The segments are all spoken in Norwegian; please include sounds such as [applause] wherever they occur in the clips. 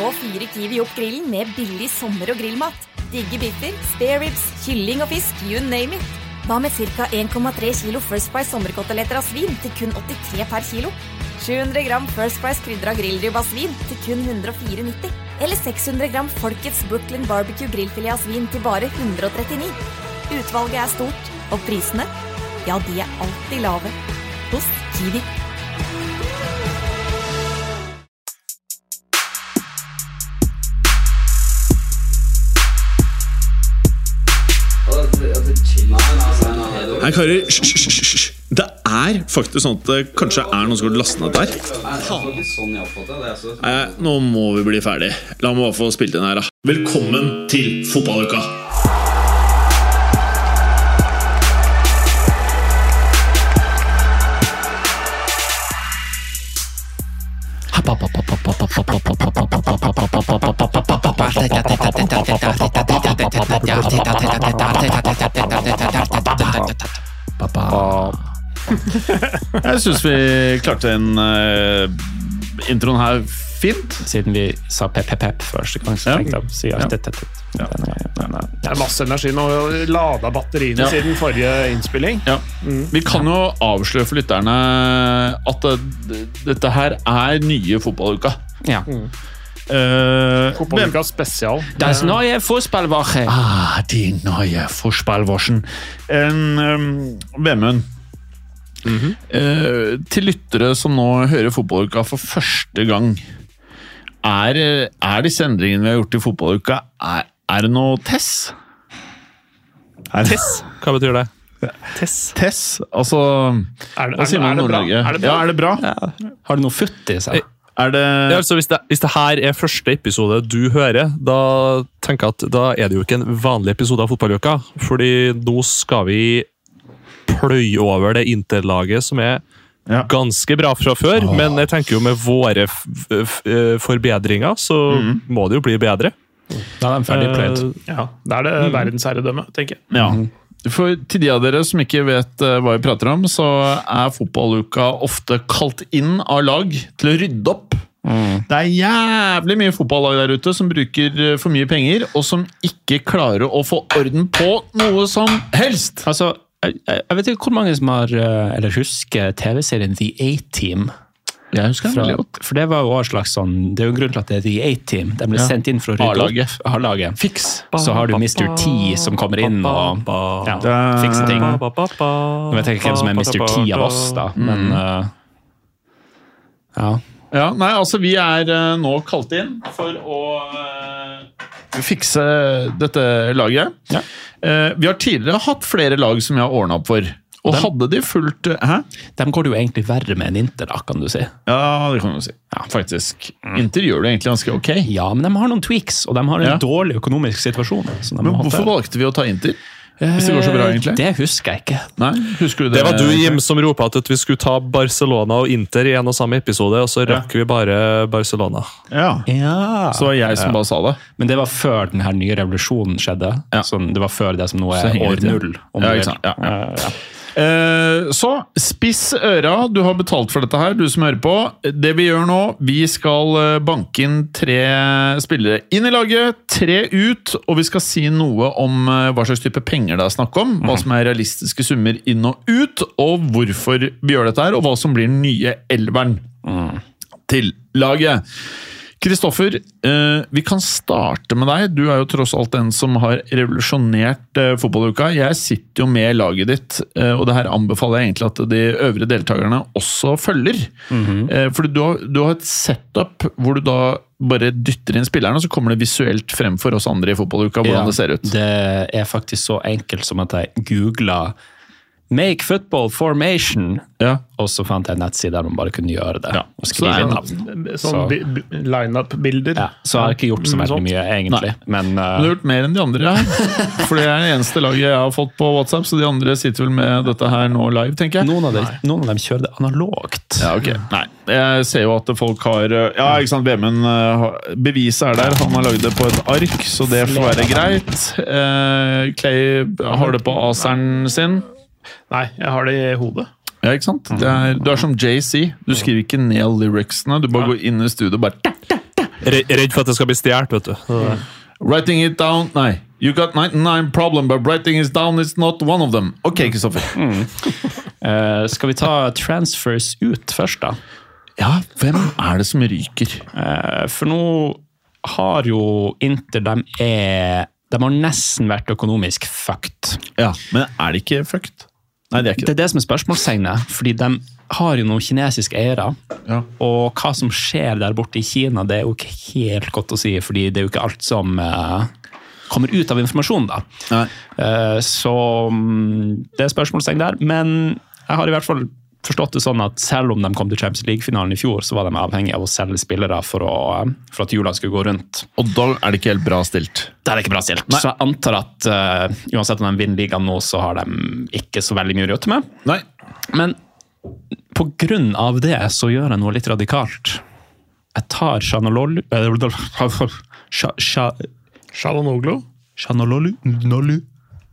Nå fyrer Kiwi opp grillen med billig sommer- og grillmat. Digge biffer, spare ribs, kylling og fisk, you name it. Hva med ca. 1,3 kilo First Price sommerkoteletter av svin til kun 83 per kilo? 700 gram First Price krydra grillribbe av svin til kun 104,90? Eller 600 gram Folkets Brooklyn Barbecue grillfilet av svin til bare 139? Utvalget er stort, og prisene? Ja, de er alltid lave. Hos Kiwi. Hei, karer. Hysj, hysj, hysj, hysj. Det er faktisk sånn at det kanskje er noen som har lastet ned der. Nei, nå må vi bli ferdig. La meg bare få spilt inn her, da. Velkommen til fotballuka! Jeg syns vi klarte den eh, introen her fint. Siden vi sa pep-pep-pep første gang, så Ja. tenkte jeg å si Ja. alt dette. Ja. Det er masse energi nå. Lada batteriene Ja. siden forrige innspilling. Ja. Vi kan jo avsløre for lytterne at det, dette her er nye fotballuka. Ja. Uh, Fotballuka spesial. Das neue Fußballwoche. Ah, de nye forspillvarsen. En um, Vemund. Eh, til lyttere som nå hører fotballuka for første gang. Er, eh, er disse endringene vi har gjort i fotballuka, er, er det noe tess? Er det, tess? Hva betyr det? Tess? Altså Er det- er Hva sier det- man i er det bra? Nord-Norge? Er det bra? Ja, er det bra? Har det noe futt i seg? Er Ja, det altså hvis det, hvis det her er første episode du hører, da tenker jeg at da er det jo ikke en vanlig episode av Fotballuka. Fordi nå skal vi pløye over det interlaget som er Ja. ganske bra fra før. Men jeg tenker jo med våre f f eh, forbedringer, så Mm. må det jo bli bedre. Da er de ferdig Mm. pløyd. Eh, Ja, Det er det verdensherredømme, tenker jeg. Ja. For til de av dere som ikke vet eh, hva vi prater om, så er fotballuka ofte kalt inn av lag til å rydde opp. Mm. Det er jævlig mye fotballag der ute som bruker eh, for mye penger, og som ikke klarer å få orden på noe som helst! Altså, jeg, jeg jeg vet ikke hvor mange som har, eh, eller husker TV-serien The A-Team. Jeg husker Fra, for det var jo også en slags sånn, det er jo en grunn til at det er The A-Team. De ble Ja. sendt inn for å rydde A-laget. opp. A-laget. Så har du Mr. T som kommer inn og ja, Det- fikser ting. Nå Jeg vet jeg ikke hvem som er Mr. T av oss, da, men eh, ja. Ja, nei, altså vi er eh, nå kalt inn for å eh, fikse dette laget. Ja. Eh, vi har tidligere hatt flere lag som vi har ordna opp for. Og dem- hadde de fulgt eh, Hæ? Dem går det jo egentlig verre med enn Inter, da, kan du si. Ja, det kan du si. Faktisk. Inter gjør det egentlig ganske ok. Mm. Ja, men de har noen tweaks, og de har Ja. en dårlig økonomisk situasjon. Så de Men må hvorfor håndtere. valgte vi å ta Inter? Hvis det går så bra, egentlig? Eh, Det husker jeg ikke. Nei, husker du det? Det var du, Jim, som ropa at vi skulle ta Barcelona og Inter i en og samme episode, og så rakk vi bare Barcelona. Ja. Ja. Så det var jeg som bare sa det. Men det var før den her nye revolusjonen skjedde. Ja. Sånn, det var før det som nå Så er henger år det til. null. om Ja, du vil. ikke sant. Ja, ja. Eh, ja. Eh, Så spiss øra. Du har betalt for dette her, du som hører på. Det vi gjør nå, vi skal eh, banke inn tre spillere inn i laget, tre ut, og vi skal si noe om eh, hva slags type penger det er snakk om, hva som er realistiske summer inn og ut, og hvorfor vi gjør dette her, og hva som blir den nye elveren til laget. Kristoffer, eh, vi kan starte med deg. Du er jo tross alt den som har revolusjonert eh, fotballuka. Jeg sitter jo med laget ditt, eh, og det her anbefaler jeg egentlig at de øvrige deltakerne også følger. Mhm. Eh, fordi du har, du har et setup hvor du da bare dytter inn spillerne, og så kommer det visuelt frem for oss andre i fotballuka hvordan Ja, det ser ut. Det er faktisk så enkelt som at jeg googla 'Make football formation', Ja. og så fant jeg en nettside der man bare kunne gjøre det. og Så det skrive er inn en- navn. Sånn bi- bi- lineup-bilder. Ja, så jeg har ikke gjort så Mm, veldig sånt. mye, egentlig. Men eh, Men Du har gjort mer enn de [laughs] andre. Ja. For det er det eneste laget jeg har fått på WhatsApp, så de andre sitter vel med dette her nå live, tenker jeg. noen, av de, noen av dem kjører det analogt. Ja, ok. Nei, jeg ser jo at folk har Ja, ikke sant, Vemund eh, har- Beviset er der. Han har lagd det på et ark, så det får være greit. Eh, Clay har det på aceren sin. Nei, jeg har det i hodet. Ja, ikke sant? Det er, du er som JC. Du skriver ikke ned lyricsene. Du bare går inn i studio og bare Re- Redd for at det skal bli stjålet, vet du. Writing it down Nei. You got 99 problem, but writing it down is not one of them. Ok, Kristoffer. Mm. Eh, skal vi ta transfers ut først, da? Ja, hvem er det som ryker? Eh, For nå har jo Inter De er De har nesten vært økonomisk fucked. Ja, Men er det ikke fucked? Nei, det er Det er det som er spørsmålstegnet, fordi de har jo noen kinesiske eiere. Ja. Og hva som skjer der borte i Kina, det er jo ikke helt godt å si, fordi det er jo ikke alt som eh, kommer ut av informasjonen, da. Nei. Eh, så mm, det er spørsmålstegn der. Men jeg har i hvert fall forstått det sånn at selv om de kom til Champions League-finalen i fjor, så var de avhengig av å selge spillere for, å, for at jula skulle gå rundt. Og da er det ikke helt bra stilt. Det er ikke bra stilt. Så jeg antar at eh, uansett om de vinner ligaen nå, så har de ikke så veldig mye å røte med. Nei. Men på grunn av det så gjør jeg noe litt radikalt. Jeg tar eh, Sjanololu Shalanoglu. Sjanololu Nolu.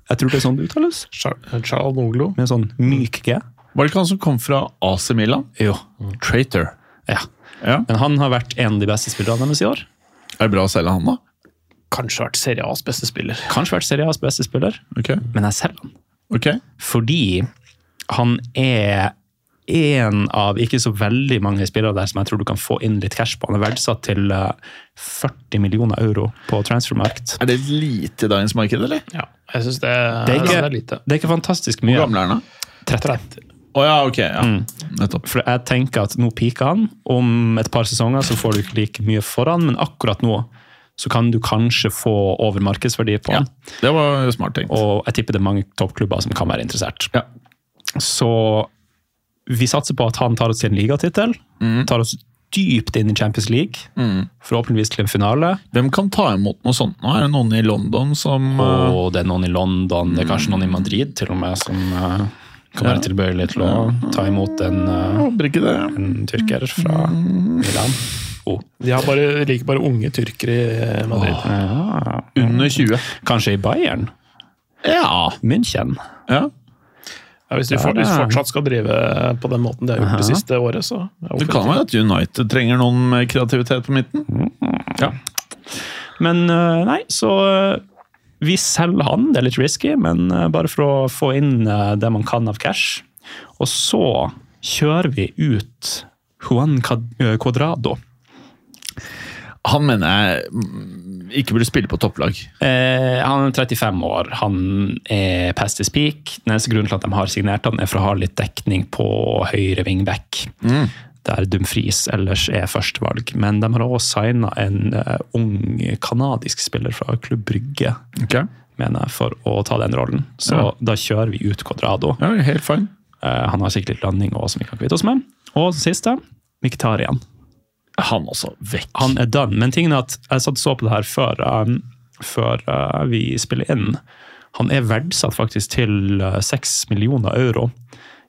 Jeg tror det er sånn det uttales. eh, Shalanoglu. Med en sånn myk G. Var det ikke han som kom fra AC Milan? Jo. Traitor. Ja. Ja. Men han har vært en av de beste spillerne deres i år. Er det bra å selge han, da? Kanskje vært Serie A's beste spiller. Kanskje vært Serie A's beste spiller, Ok. men jeg selger han. Ok. Fordi han er en av ikke så veldig mange spillere der som jeg tror du kan få inn litt cash på. Han er verdsatt til eh, 40 millioner euro på transfermarkt. Er det et lite i dagens marked, eller? Ja, jeg syns det, Det er, jeg synes ikke, det er lite. det er ikke fantastisk mye. Hvor gammel er han? da? 30. Å ja, ok. ja. Mm. Nettopp. For jeg tenker at nå piker han. Om et par sesonger så får du ikke like mye for han, men akkurat nå så kan du kanskje få over markedsverdi på Ja. han. Det var smart tenkt. Og jeg tipper det er mange toppklubber som kan være interessert. Ja. Så vi satser på at han tar oss til en ligatittel. Mm. Tar oss dypt inn i Champions League. Forhåpentligvis til en finale. Hvem kan ta imot noe sånt nå? Er det noen i London som eh, Og det er noen i London, det er kanskje Mm. noen i Madrid til og med, som eh, kan være tilbøyelig til å ta imot en eh, Håper ikke det. en tyrker fra Mm. Milan. Oh. De eh, har bare, liker bare unge tyrkere i eh, Madrid. Under 20. Eh, Kanskje i Bayern? Ja. München? eh, ja. Ja, hvis de for, hvis de fortsatt skal drive på den måten de har gjort det siste året, så er Det hvorfor kan ikke? være at United trenger noen med kreativitet på midten. Ja. Men eh, nei, så eh, vi selger han. Det er litt risky, men eh, bare for å få inn eh, det man kan av cash. Og så kjører vi ut Juan eh, Cuadrado. Han mener jeg mm, ikke burde spille på topplag. Eh, han er 35 år, han er past is peak. Den eneste grunnen til at de har signert han er for å ha litt dekning på høyre wingback. Der Dumfries ellers er førstevalg. Men de har også signa en eh, ung kanadisk spiller fra Klubb Brygge, mener jeg, for å ta den rollen. Så Ja. da kjører vi ut Quadrado. Ja, helt fine. Eh, han har sikkert litt landing også, som vi kan kvitte oss med. Og den siste, Miktarian. Han også Altså, vekk. Han er done. Men tingen er at jeg satt og så på det her før, um, før uh, vi spiller inn. Han er verdsatt faktisk til uh, 6 millioner euro.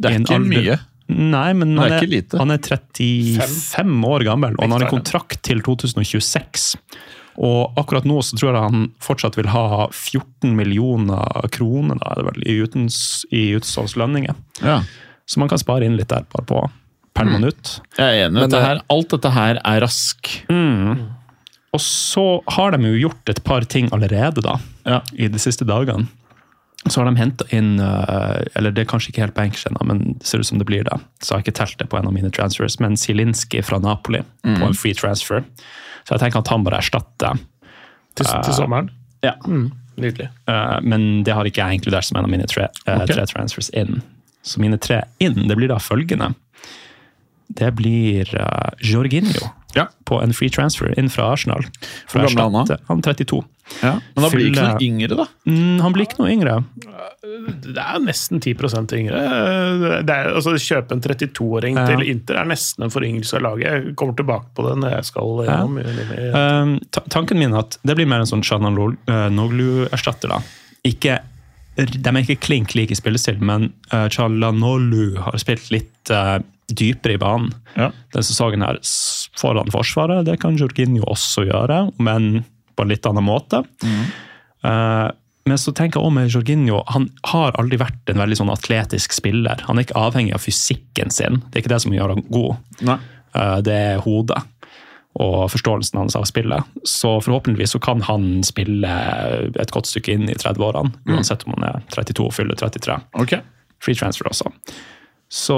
det i er en ikke alder- mye. Nei, men Det er han er, ikke lite. han er 35 år gammel, og han har en kontrakt til 2026. Og akkurat nå så tror jeg han fortsatt vil ha 14 millioner kroner da, er det vel, i, utens, i uteståendslønninger. Ja. Så man kan spare inn litt der bare på per Mm. minutt. Jeg er enig. Dette her, alt dette her er rask. Og så har de jo gjort et par ting allerede, da. Ja. I de siste dagene. Så har de henta inn eh, Eller det er kanskje ikke helt bankers ennå, men det ser ut som det blir det. Så jeg har ikke telt det på en av mine transfers, men Zielinski fra Napoli Mm. på en free transfer. Så jeg tenker at han bare erstatter. til, til sommeren. Mm. Ja. Nydelig. Eh, men det har ikke jeg inkludert som en av mine tre, eh, Ok. tre transfers inn. Så mine tre inn, det blir da følgende. Det blir eh, Jorginho Ja. på en free transfer inn fra Arsenal. For Hvor gammel er han da? erstatte- Han 32. Ja. Men da blir det ikke Fylle- noe yngre, da. Mm, han blir ikke noe yngre. Det er nesten 10 yngre. Det er, altså, kjøpe en 32-åring Ja. til Inter er nesten en foryngelse av laget. Jeg kommer tilbake på det når jeg skal gjennom. Ja. Um, ta tanken min er at det blir mer en sånn Chalanoglu-erstatter. da. Ikke, de er ikke klink like i spillestil, men uh, Chalanoglu har spilt litt eh, dypere i banen. Ja. Denne sesongen her s- foran Forsvaret, det kan Jorginho også gjøre, men på en litt annen måte. Eh, men så tenker jeg også med Jorginho, han har aldri vært en veldig sånn atletisk spiller. Han er ikke avhengig av fysikken sin, det er ikke det som gjør han god. Nei. Eh, Det er hodet og forståelsen hans av spillet. Så forhåpentligvis så kan han spille et godt stykke inn i 30-årene, uansett om han er 32 og fyller 33. Ok. Free transfer også. Så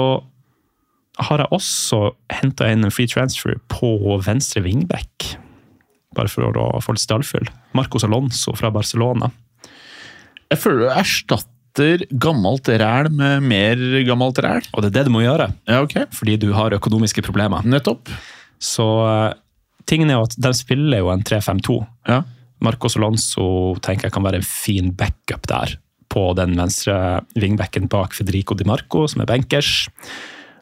har jeg også henta inn en free transfer på venstre wingback. Bare for å få litt stallfyll. Marcos Alonso fra Barcelona. Jeg føler du erstatter gammelt ræl med mer gammelt ræl. Og det er det du må gjøre, Ja, ok. fordi du har økonomiske problemer. Nettopp. Så eh, tingen er jo at de spiller jo en 3-5-2. Ja. Marcos Alonso tenker jeg kan være en fin backup der, på den venstre vingbacken bak Federico Di Marco, som er bankers.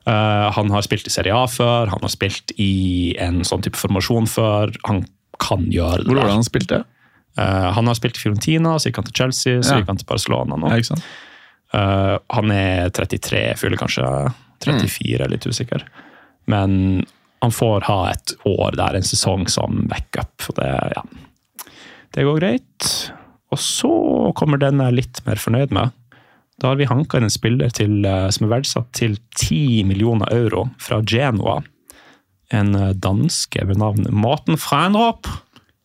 Eh, han har spilt i Serie A før, han har spilt i en sånn type formasjon før. Han kan gjøre det. Hvor var der. det han spilte? Eh, han har spilt i Fiorentina, så gikk han til Chelsea, så Ja. gikk han til Barcelona nå. Ja, ikke sant? Eh, han er 33, fyller kanskje 34, er litt usikker. Men han får ha et år der, en sesong som backup. Og det, ja. det går greit. Og så kommer den jeg er litt mer fornøyd med. Da har vi hanka inn en spiller til, eh, som er verdsatt til 10 millioner euro fra Genoa. En eh, danske ved navn Martin Frendrop.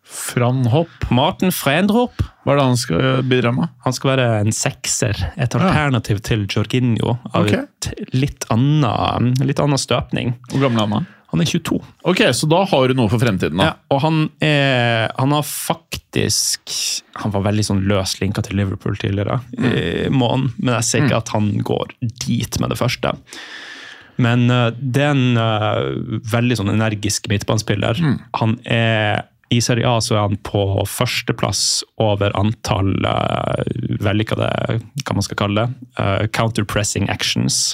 Franhopp. Martin Frendrop. Hva er det han skal eh, bidra med? Han skal være en sekser, et alternativ til Jorginho. Av Ok. et litt annen, litt annen støpning. Hvor gammel er han? da? Han er 22, Ok, så da har du noe for fremtiden, ja, da. og han, er, han har faktisk Han var veldig sånn løs linka til Liverpool tidligere, i måneden, men jeg ser ikke at han går dit med det første. Men eh, det er en eh, veldig sånn energisk midtbanespiller. Han er i Serie A så er han på førsteplass over antall uh, vellykkede, hva man skal kalle det, eh, counterpressing actions.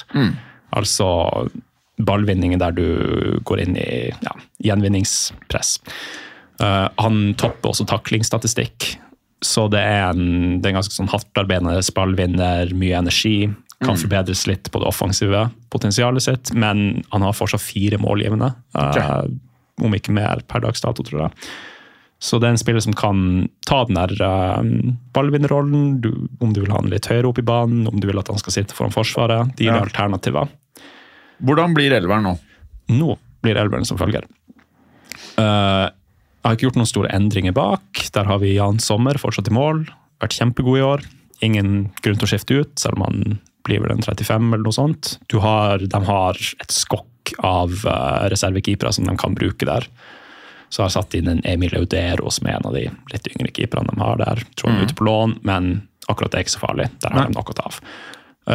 Altså ballvinninger der du går inn i ja, gjenvinningspress. Eh, han topper også taklingsstatistikk. Så det er en, det er en ganske sånn hardtarbeidende ballvinner, mye energi. Kan forbedres litt på det offensive potensialet sitt, men han har fortsatt fire målgivende. eh, Om ikke mer per dags dato, tror jeg. Så det er en spiller som kan ta den der eh, ballvinnerrollen, du- om du vil ha han litt høyere opp i banen, om du vil at han skal sitte foran forsvaret. De gir Ja. alternativer. Hvordan blir elveren nå? Nå blir elveren som følger. Eh, jeg har ikke gjort noen store endringer bak. Der har vi Jan Sommer fortsatt i mål. Vært kjempegod i år. Ingen grunn til å skifte ut, selv om han blir vel en 35 eller noe sånt. Du har, de har et skokk av eh, reservekeepere som de kan bruke der. Så jeg har satt inn en Emil Audero, som er en av de litt yngre keeperne de har der. Tror han er ute på lån, men akkurat det er ikke så farlig. Der har de noe å ta av.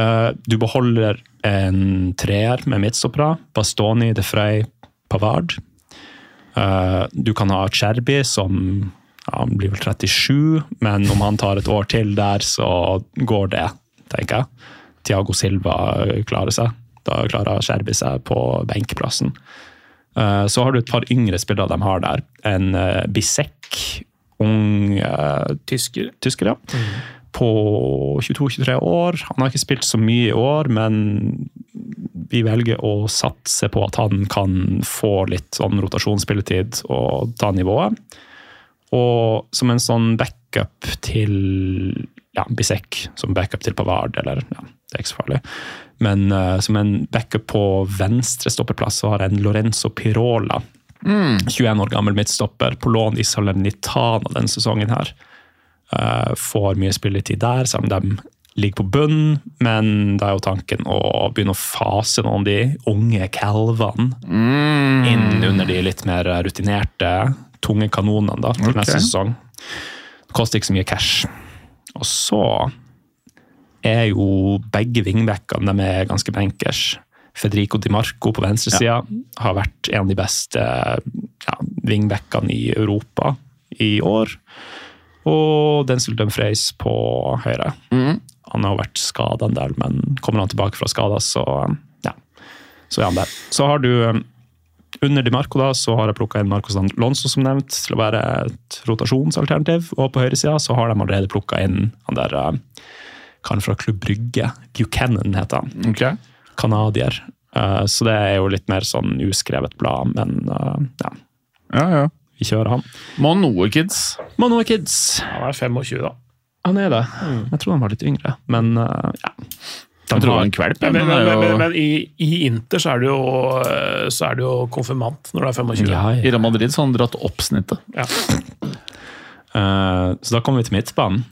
Eh, du beholder en treer med midtstoppere. Bastoni, De Frey, Pavard. Eh, du kan ha Cherby, som ja, han blir vel 37, men om han tar et år til der, så går det, tenker jeg. Tiago Silva klarer seg. Da klarer Cherby seg på benkeplassen. Eh, Så har du et par yngre spillere de har der. En eh, Bisek, ung eh, tysker, tysker ja. på 22-23 år. Han har ikke spilt så mye i år, men vi velger å satse på at han kan få litt sånn rotasjonsspilletid og ta nivået. Og som en sånn backup til ja, Bisek, som backup til Pavard, eller ja, det er ikke så farlig. Men eh, som en backup på venstre stoppeplass så har jeg en Lorenzo Pirola. 21 år gammel midtstopper på lån i Salernitana denne sesongen her. Eh, får mye spilletid der, selv om de ligger på bunnen, men da er jo tanken å begynne å fase noen av de unge kalvene inn under de litt mer rutinerte, tunge kanonene da, til neste sesong. Det koster ikke så mye cash. Og så er jo begge vingbekkene de er ganske bankers. Federico Di Marco på venstresida har vært en av de beste ja, vingbekkene i Europa i år. Og Denzil Dumfries på høyre. Han har jo vært skada en del, men kommer han tilbake fra skada, så ja. Så er han der. Så har du um, under Di Marco da, så har jeg plukka inn Marcos Lonzo som nevnt, til å være et rotasjonsalternativ. Og på høyresida så har de allerede plukka inn han der um, karen fra Klubb Brygge. Buchanan heter han Ok. canadier. Eh, Så det er jo litt mer sånn uskrevet blad, men eh, ja, Ja, ja. vi kjører han. Må ha noe, kids. Mano Kids, Han er 25, da. Mm. han er det. Jeg tror han var litt yngre, men eh, ja. De Jeg tror det har- var en kvalp. ja, Men, men, den er men, men, jo- men i, i Inter så er, du jo, eh, så er du jo konfirmant når du er 25. ja, I ja. Real Madrid så har han dratt opp snittet. Eh, Så da kommer vi til midtbanen.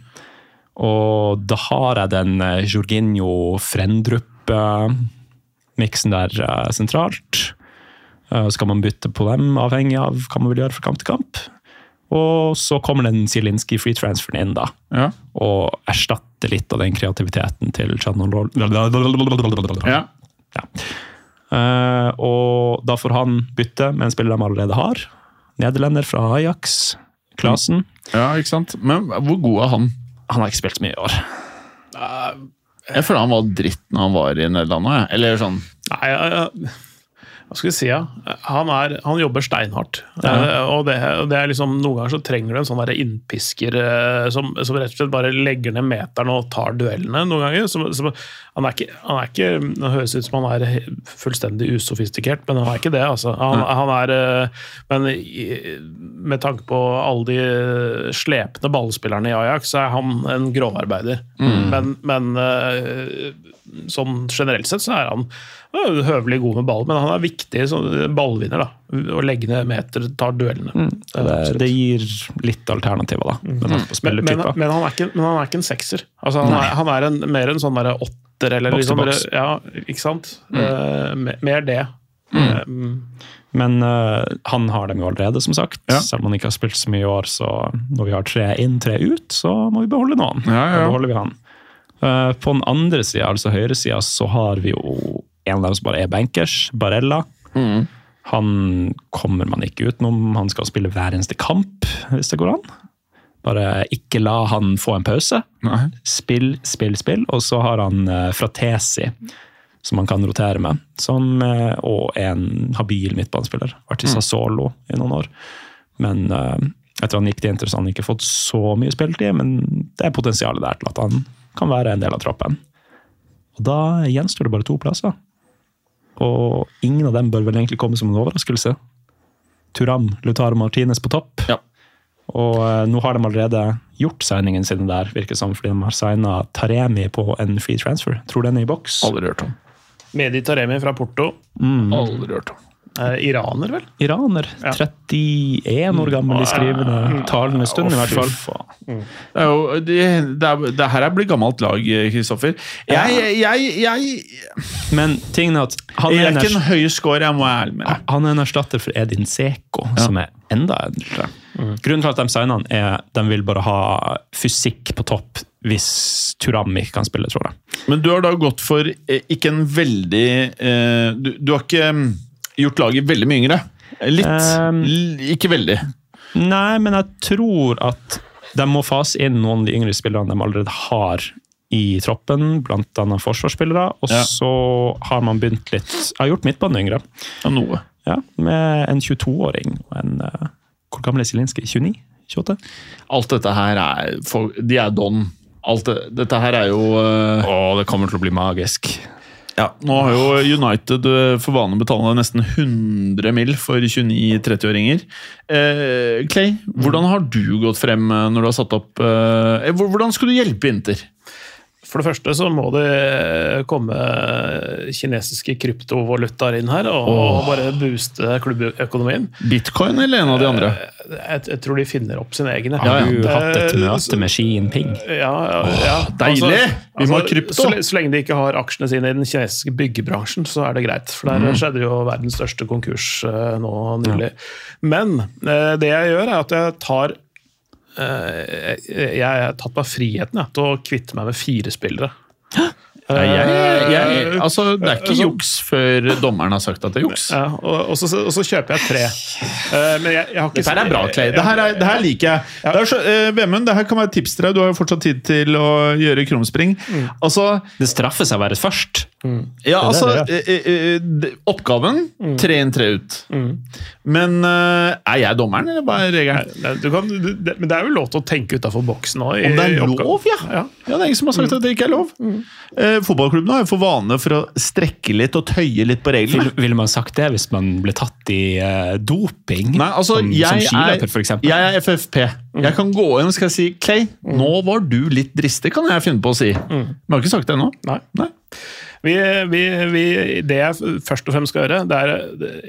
Og da har jeg den eh, Jorginho Frendrup-miksen der eh, sentralt. Eh, Så kan man bytte på dem, avhengig av hva man vil gjøre fra kamp til kamp. Og så kommer den Zielinski free transferen inn, da. Ja. og erstatte litt av den kreativiteten til Shannon Roll. Ja. Eh, og da får han bytte med en spiller de allerede har. Nederlender fra Ajax. Klasen. ja, ikke sant? Men hvor god er han? Han har ikke spilt så mye i år. Jeg føler han var dritt når han var i Nederland òg, jeg. Eller sånn Nei, jeg- jeg- hva skal jeg si? Ja? Han, er, han jobber steinhardt. Eh, og det, og det er liksom, noen ganger så trenger du en sånn der innpisker eh, som, som rett og slett bare legger ned meteren og tar duellene noen ganger. Som, som, han, er ikke, han er ikke Det høres ut som han er he- fullstendig usofistikert, men han er ikke det. altså. Han, han er, eh, Men i- med tanke på alle de eh, slepne ballspillerne i Ajax, så er han en grovarbeider. Men, men eh, sånn generelt sett så er han øh, høvelig god med ball, men han er viktig som ballvinner. da, Å legge ned meter, tar duellene. Mm. Det er Det, absolutt. Mm. det gir litt alternativer, da. Med tanke på men, men, spillertyper. men, han er ikke, men han er ikke en sekser. Altså, han, er, han er en, mer en sånn derre åtter, eller Boks til liksom boks. bare- Ja, ikke sant? Mm. Eh, me- mer det. Men eh, han har dem jo allerede, som sagt. Ja. Selv om han ikke har spilt så mye i år, så når vi har tre inn, tre ut, så må vi beholde noen. Ja, ja, ja. Da beholder vi han. Eh, på den andre sida, altså høyresida, så har vi jo en av dem som bare er bankers, Barella. Mm. Han kommer man ikke utenom. Han skal spille hver eneste kamp, hvis det går an. Bare ikke la han få en pause. Nei. Spill, spill, spill. Og så har han eh, Fratesi, som han kan rotere med. Som, eh, og en habil midtbanespiller. Vært i Sassolo i noen år. Men eh, etter han gikk til Inter, så har han ikke fått så mye spilletid. Men det er potensialet der til at han kan være en del av troppen. Og da gjenstår det bare to plasser. Og ingen av dem bør vel egentlig komme som en overraskelse. Turam, Lutaro Martinez på topp. Ja. Og eh, nå har de allerede gjort signingen sine der, virker det som, fordi de har signa Taremi på en free transfer. Tror den er i boks. Aldri hørt om. Mm. Medi Taremi fra Porto. Aldri hørt om. Eh, iraner, vel? Iraner. 31 år gammel i skrivende Mm. talende stund, i hvert fall. Det er jo, det, det, er, det her er blitt gammelt lag, Kristoffer. Jeg, jeg, jeg, Men tingen er at han jeg er er en ikke erst- en høy score, jeg må være ærlig med deg. Han er en erstatter for Edin Seko, som er enda eldre. Mm. Grunnen til at de signer han, er at de vil bare ha fysikk på topp hvis Turam ikke kan spille, tror jeg. Men du har da gått for eh, ikke en veldig eh, du, du har ikke mm, gjort laget veldig mye yngre. Litt. Um, L- ikke veldig. Nei, men jeg tror at de må fase inn noen av de yngre spillerne de allerede har i troppen, blant annet forsvarsspillere. Og Ja. så har man begynt litt Jeg har gjort midtbanen yngre. Ja, noe. Ja, med en 22-åring og en eh, Hvor gammel er Zielinski? 29? 28? Alt dette her er for, De er don. Alt det, dette her er jo eh, Å, det kommer til å bli magisk. ja, Nå har jo United eh, for vane å betale nesten 100 mill. for 29-30-åringer. Eh, Clay, hvordan har du gått frem eh, når du har satt opp eh, eh, hvor- Hvordan skulle du hjelpe Inter? For det første så må det komme kinesiske kryptovalutaer inn her og Åh. bare booste klubbøkonomien. Bitcoin eller en av de andre? Jeg, jeg tror de finner opp sine egne. Ja, Har ja. du hatt et Eh, møte med Xi Jinping? Ja, ja, ja. Altså, deilig! Vi må ha krypto. Så, le- så lenge de ikke har aksjene sine i den kinesiske byggebransjen, så er det greit. For der skjedde jo verdens største konkurs eh, nå nylig. Men eh, det jeg gjør, er at jeg tar eh, jeg, jeg har tatt meg friheten jeg, til å kvitte meg med fire spillere. Nei, jeg, jeg, Eh, altså, det er ikke altså- juks før dommeren har sagt at det er juks. Ja, og, og, så, og så kjøper jeg tre. Eh, men jeg, jeg har ikke Dette her er bra, Clay. Det her, er, det her liker jeg. Det er så, eh, Vemund, det her kan være et tips til deg. Du har jo fortsatt tid til å gjøre krumspring. Altså, Det straffer seg å være først. ja, Mm. det altså er Mm. eh, eh, d- Oppgaven tre inn, tre ut. Men eh, er jeg dommeren, eller hva er regelen? Nei, du kan, du, det, men det er jo lov til å tenke utafor boksen òg. Om det er lov, ja. ja! Ja. Mm. Det er ingen som har sagt at det ikke er lov. Eh, fotballklubben har jo for vane for å strekke litt og tøye litt på reglene. Vil- Ville man sagt det hvis man ble tatt i eh, doping? Nei, altså, som, som jeg, skiløper, for er, eksempel? jeg er FFP. Jeg kan gå inn og skal si Clay, Mm. nå var du litt dristig, kan jeg finne på å si. Men jeg har ikke sagt det ennå. Nei. Vi, vi, vi, det jeg først og fremst skal gjøre det er,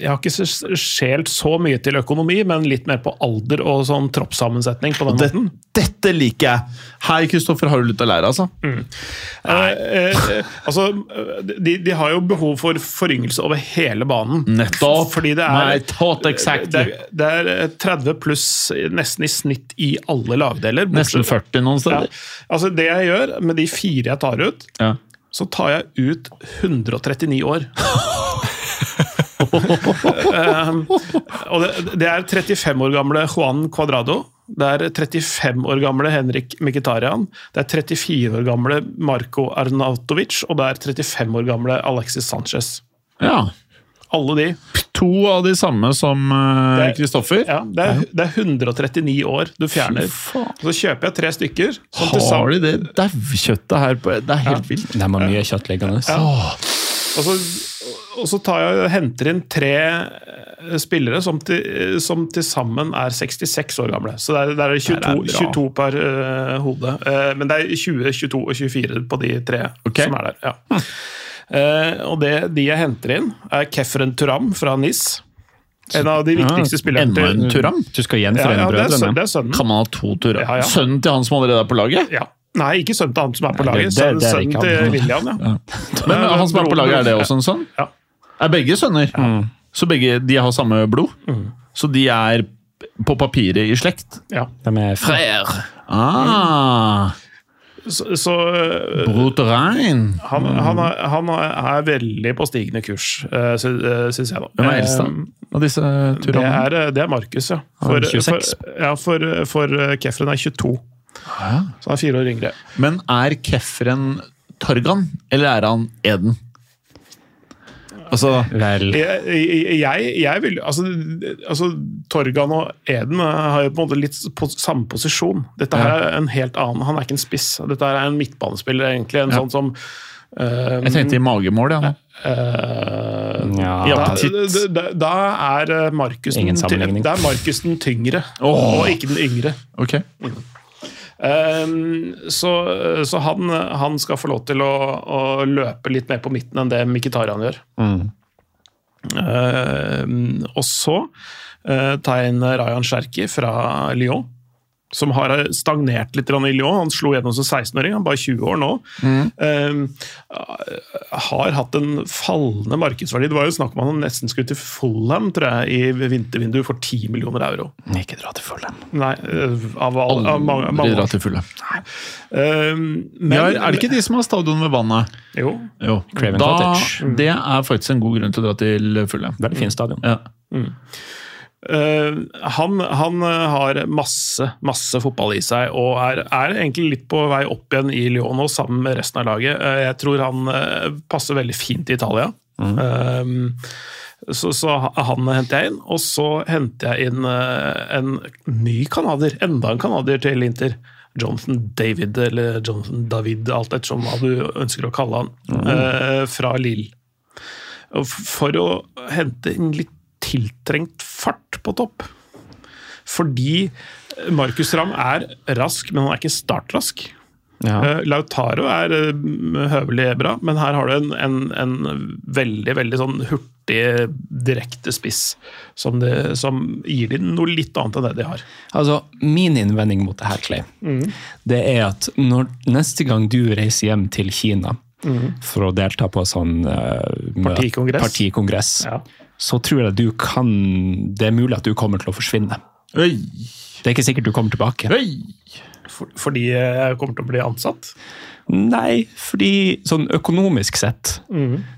Jeg har ikke s- skjelt så mye til økonomi, men litt mer på alder og sånn troppssammensetning. på den Det, måten. dette liker jeg! Hei, Kristoffer, har du litt å lære, altså? Mm. Eh, eh, altså, de, de har jo behov for foryngelse over hele banen. Nettopp. Fordi det My er, thought exactly. det, er, det er 30 pluss nesten i snitt i alle lagdeler. Nesten 40 noen Ja. steder. Altså, det jeg gjør med de fire jeg tar ut, Ja. så tar jeg ut [laughs] 139 år. um, og det, det er 35 år gamle Juan Cuadrado. Det er 35 år gamle Henrik Mkhitaryan. Det er 34 år gamle Marko Arnautovic. Og det er 35 år gamle Alexis Sanchez. ja. Alle de. To av de samme som eh, Det- Kristoffer. Ja, det, er, det er 139 år du fjerner. Fy faen. Så kjøper jeg tre stykker. som til sammen- Har de det daukjøttet her på Det er helt vilt. De har mye kjøtt liggende. Og så, og så tar jeg, henter inn tre eh, spillere som til, eh, som til sammen er 66 år gamle. Så der, der er det 22, Det er bra. 22 per eh, hode. Eh, men det er 20, 22 og 24 på de tre Ok. Hm. som er der. Ja. Eh, og det, de jeg henter inn, er Kefren Turam fra NIS. En av Hm. de viktigste spillerne. Enda en til- Turam? Du skal Ja, gjenforene ja, det, er, sø- brødrene. det er sønnen. Kan man ha to Turam? Ja, ja. Sønnen til han som allerede er på laget? Ja. Nei, ikke sønnen til han som er på Nei, det- laget. det- Sønnen, det er ikke sønnen han. til William, ja. Men han som er på laget, er det også en sønn? Ja. Er begge sønner. Så begge de har samme blod. Mm. Så de er på papiret i slekt. ja. De er fra Ah, Mm. Så, så eh, Broterein. Han, han, er, han er veldig på stigende kurs, uh, syns jeg, da. Hvem er eldst da? av disse Eh, Det turene? er, det er Markus, ja. Han er 26. for, ja, for, for Kefren er 22. Så han er fire år yngre. Men er Kefren Torgan, eller er han Eden? Altså Vel, Jeg, jeg- jeg, jeg vil altså, altså, Torgan og Eden eh, har jo på en måte litt på samme posisjon. Dette her er en helt annen Han er ikke en spiss. Dette her er en midtbanespiller, egentlig. En sånn som eh, Jeg tenkte i magemål, ja. nå. eh, ja, da, da- da, da, da er eh, Markus den Ingen ty- sammenligning. da er Markus den tyngre, og ikke den yngre. Ok. Um, så så han, han skal få lov til å, å løpe litt mer på midten enn det Mkhitarian gjør. Um, og så eh, tar jeg inn Rayan Cherki fra Lyon. Som har stagnert litt grann i Lyon. Han slo gjennom som 16-åring, han er bare 20 år nå. Um, har hatt en fallende markedsverdi. Det var jo snakk om han nesten skulle til Fulham tror jeg, i vintervinduet for 10 millioner euro. Ikke dra til Fulham. Nei, eh, av, all, av mange, De mange drar til fulle. Um, men, Ja, er det ikke de som har stadion ved vannet? Jo. Jo. Craven Da, Cottage. det er faktisk en god grunn til å dra til fulle. Veldig fin stadion. Ja. Uh, han, han uh, har masse, masse fotball i seg, og er, er egentlig litt på vei opp igjen i Lyon nå, sammen med resten av laget. Uh, jeg tror han uh, passer veldig fint i Italia. Mm. Um, så, så ha- han henter jeg inn, og så henter jeg inn uh, en ny canadier. Enda en canadier til Inter. Jonathan David, eller Jonathan David, alt ettersom hva du ønsker å kalle han. Mm. Uh, fra Lill. Og f- for å hente inn litt tiltrengt fart på topp. eh, Fordi Markus Ramm er rask, men han er ikke startrask. Ja. Eh, Lautaro er eh, høvelig bra, men her har du en, en, en veldig veldig sånn hurtig, direkte spiss som, det, som gir dem noe litt annet enn det de har. Altså, Min innvending mot det her, Clay, Mm. det er at når, neste gang du reiser hjem til Kina Mm. for å delta på sånn eh, møt- Partikongress. partikongress så tror jeg du kan Det er mulig at du kommer til å forsvinne. Øy, Det er ikke sikkert du kommer tilbake. øy. For, fordi jeg kommer til å bli ansatt. Nei, fordi sånn økonomisk sett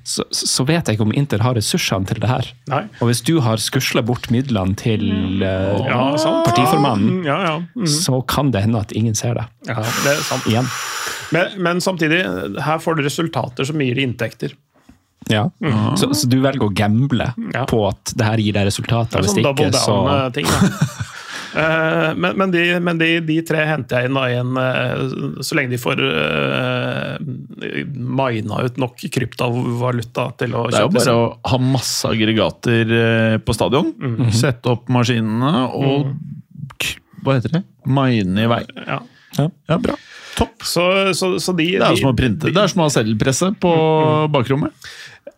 så, så vet jeg ikke om Inter har ressursene til det her. Mhm. Nei. Og hvis du har skusla bort midlene Mm. til eh, Ja, sant. partiformannen, Mm, Ja, ja. Mm, så kan det hende at ingen ser det ja det er sant. igjen. Men, men samtidig, her får du resultater som gir deg inntekter. Ja. Ah. Så, så du velger å gamble Mm. Ja. på at det her gir deg resultater. Det er Hvis sånn double ikke, så down-ting. [laughs] da. Eh, men men, de, men de, de tre henter jeg inn da i en eh, Så lenge de får eh, mina ut nok kryptovaluta til å Det er jo kjøpe bare å ha masse aggregater eh, på stadion. Mm. Mhm. Sette opp maskinene og k- Hva heter det? Mine i vei. Ja. Ja, bra. Topp. Så, så, så de, Det er jo de- som å printe. Det er som å ha seddelpresse på mm. bakrommet.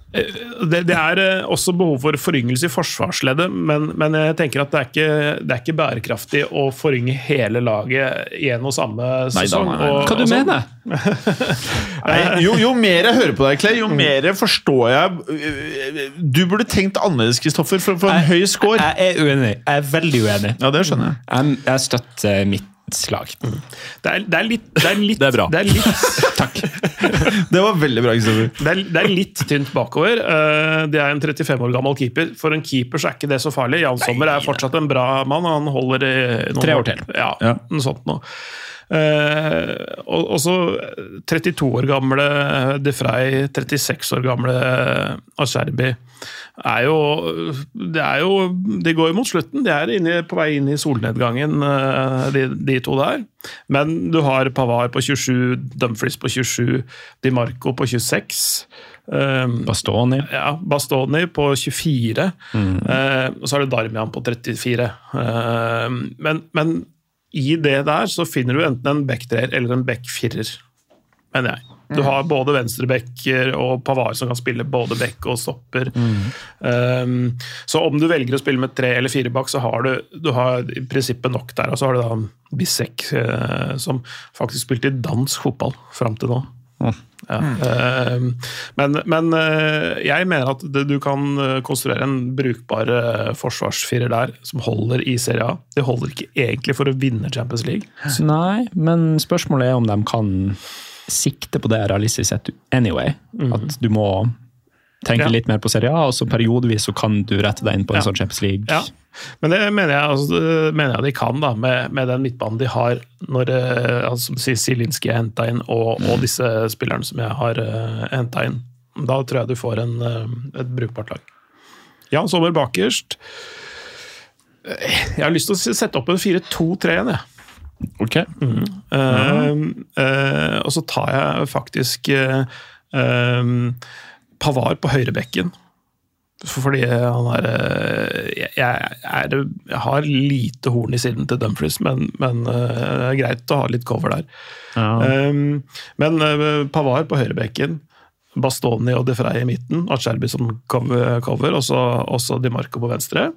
det, det er eh, også behov for foryngelse i forsvarsleddet, men, men jeg tenker at det er, ikke, det er ikke bærekraftig å forynge hele laget i en og samme sesong. nei, nei, nei. og- Hva du og sånn. [laughs] mener Nei, jo, jo mer jeg hører på deg, Clay, jo Mm. mer forstår jeg øh, Du burde tenkt annerledes, Kristoffer, for å få en høy score. Jeg er uenig. Jeg er veldig uenig. Mm. Ja, det skjønner jeg. Jeg, jeg støtter mitt lag. Det er, det er litt Det er, litt, Det er bra. Det er litt, Takk. Det var veldig bra, Kristoffer. det er, det er litt tynt bakover. Eh, Det er en 35 år gammel keeper. For en keeper så er ikke det så farlig. Jan Sommer er fortsatt en bra mann. og Han holder i noen Tre år til. Ja, Ja. noe sånt nå. Eh, og, og så 32 år gamle De Frey, 36 år gamle Asherbi er jo, det er jo De går jo mot slutten. De er inne, på vei inn i solnedgangen, eh, de, de to der. Men du har Pavar på 27, Dumfries på 27, Di Marco på 26. eh, Bastoni. ja, Bastoni på 24, eh, og så er det Darmian på 34. Eh, men, men i det der så finner du enten en backtreer eller en backfirer, mener jeg. Du har både venstrebacker og Pavar som kan spille både back og stopper. Eh, så om du velger å spille med tre eller fire bak, så har du, du har i prinsippet nok der. Og så har du da Bisek, eh, som faktisk spilte i dansk fotball fram til nå. Ja. eh, Men, men eh, jeg mener at det- du kan eh, konstruere en brukbar eh, forsvarsfirer der som holder i Serie A. Det holder ikke egentlig for å vinne Champions League. Så Nei, men spørsmålet er om de kan sikte på det realistisk sett anyway. At du må tenke Mhm. Ja. litt mer på Serie A, og så periodevis så kan du rette deg inn på en sånn Champions League. Ja. Men det mener jeg, altså, det mener jeg de kan, da, med, med den midtbanen de har. Når eh, altså, som du sier, Zielinski er henta inn, og, og disse spillerne som jeg har henta inn. Da tror jeg du får en, eh, et brukbart lag. Jan Sommer bakerst. Eh, Jeg har lyst til å s- sette opp en 4-2-3-en, jeg. Ok. Eh, eh, og så tar jeg faktisk eh, eh, Pavar på høyrebekken. For- Fordi han er, eh, jeg, jeg, er jeg har lite horn i siden til Dumfries, men, men eh, det er greit å ha litt cover der. Eh, men eh, Pavar på høyrebekken, Bastoni og De Frey i midten, Acerbi som cover, cover og så- og så Di Marco på venstre.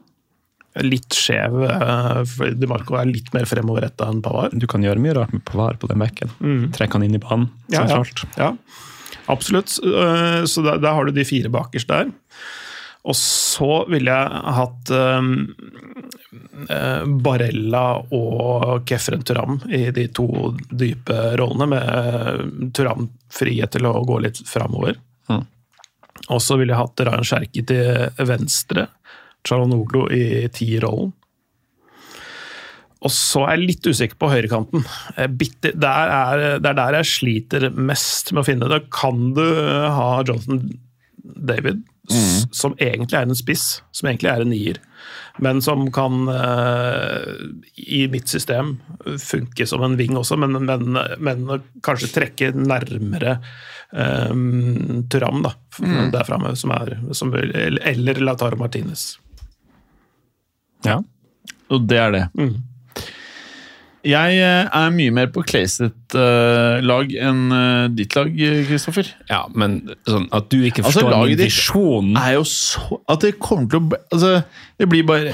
Litt skjev, eh, for Di Marco er litt mer fremoverretta enn Pavar. Du kan gjøre mye rart med Pavar på den bekken. Trekke han inn i banen Mhm. Ja, ja. sentralt. Ja, absolutt. Eh, Så der, der har du de fire bakerst der. Og så ville jeg hatt eh, eh, Barella og Kefren Turam i de to dype rollene, med eh, Turam frihet til å gå litt framover. Mhm. Og så ville jeg hatt Rayan Cherki til venstre, Chalanoglu i ti-rollen. Og så er jeg litt usikker på høyrekanten. Eh, bitte- Der er, det er der jeg sliter mest med å finne det. Kan du eh, ha Jonathan David, s- som egentlig er en spiss, som egentlig er en nier, men som kan, eh, i mitt system, funke som en ving også, men, men, men kanskje trekke nærmere eh, Turam da, f- der framme, som er, som, eller Lautaro Martinez. Ja. Mm. Og det er det. Jeg eh, er mye mer på Clayset-lag enn eh, ditt lag, Kristoffer. Ja, men sånn at du ikke Altså, forstår laget min ditt- visjon Er jo så At det kommer til å bli- altså, Det blir bare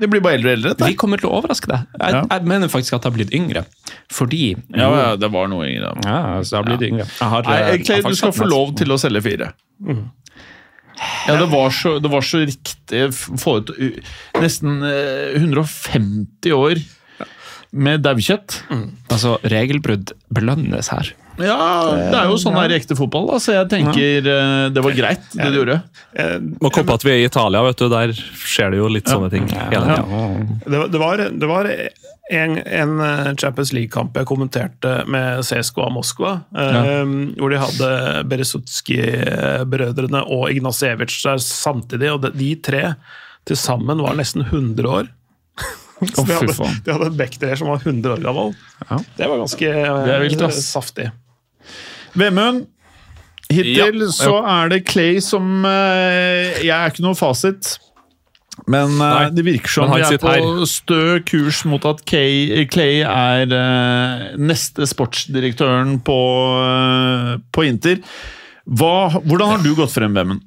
Det blir bare eldre og eldre. dette. Vi kommer til å overraske deg. Jeg, Ja. jeg mener faktisk at jeg har blitt yngre. Fordi Ja, ja, det var noe yngre. da. Ja, altså, jeg har blitt yngre. Jeg har, Nei, Clay, eh, jeg har du faktisk skal hatt få mest- lov til å selge fire. Ja, det var så, det var så riktig f- forut, u- Nesten eh, 150 år med daukjøtt. Altså, regelbrudd belønnes her. Ja, det er jo sånn det er i ekte fotball, da, så jeg tenker eh, det var greit, det du gjorde. Må komme på at vi er i Italia, vet du. Der skjer det jo litt sånne ting. hele tiden. Det var, det var, det var en, en eh, Champions League-kamp jeg kommenterte med CSKA Moskva, eh, hvor de hadde Beresutskij-brødrene og Ignacevic der samtidig, og de, de tre til sammen var nesten 100 år. [laughs] Så Å, de, fy hadde, faen. de hadde en backdreer som var 100 år gammel. Ja. Det var ganske Det er vilt, eh, ass. saftig. Vemund, hittil Ja. så er det Clay som eh, Jeg er ikke noe fasit. Men eh, Nei, det virker som men vi han er på sitter stø kurs mot at Kay, Clay er eh, neste sportsdirektøren på, eh, på Inter. Hva, hvordan har du gått frem, Vemund?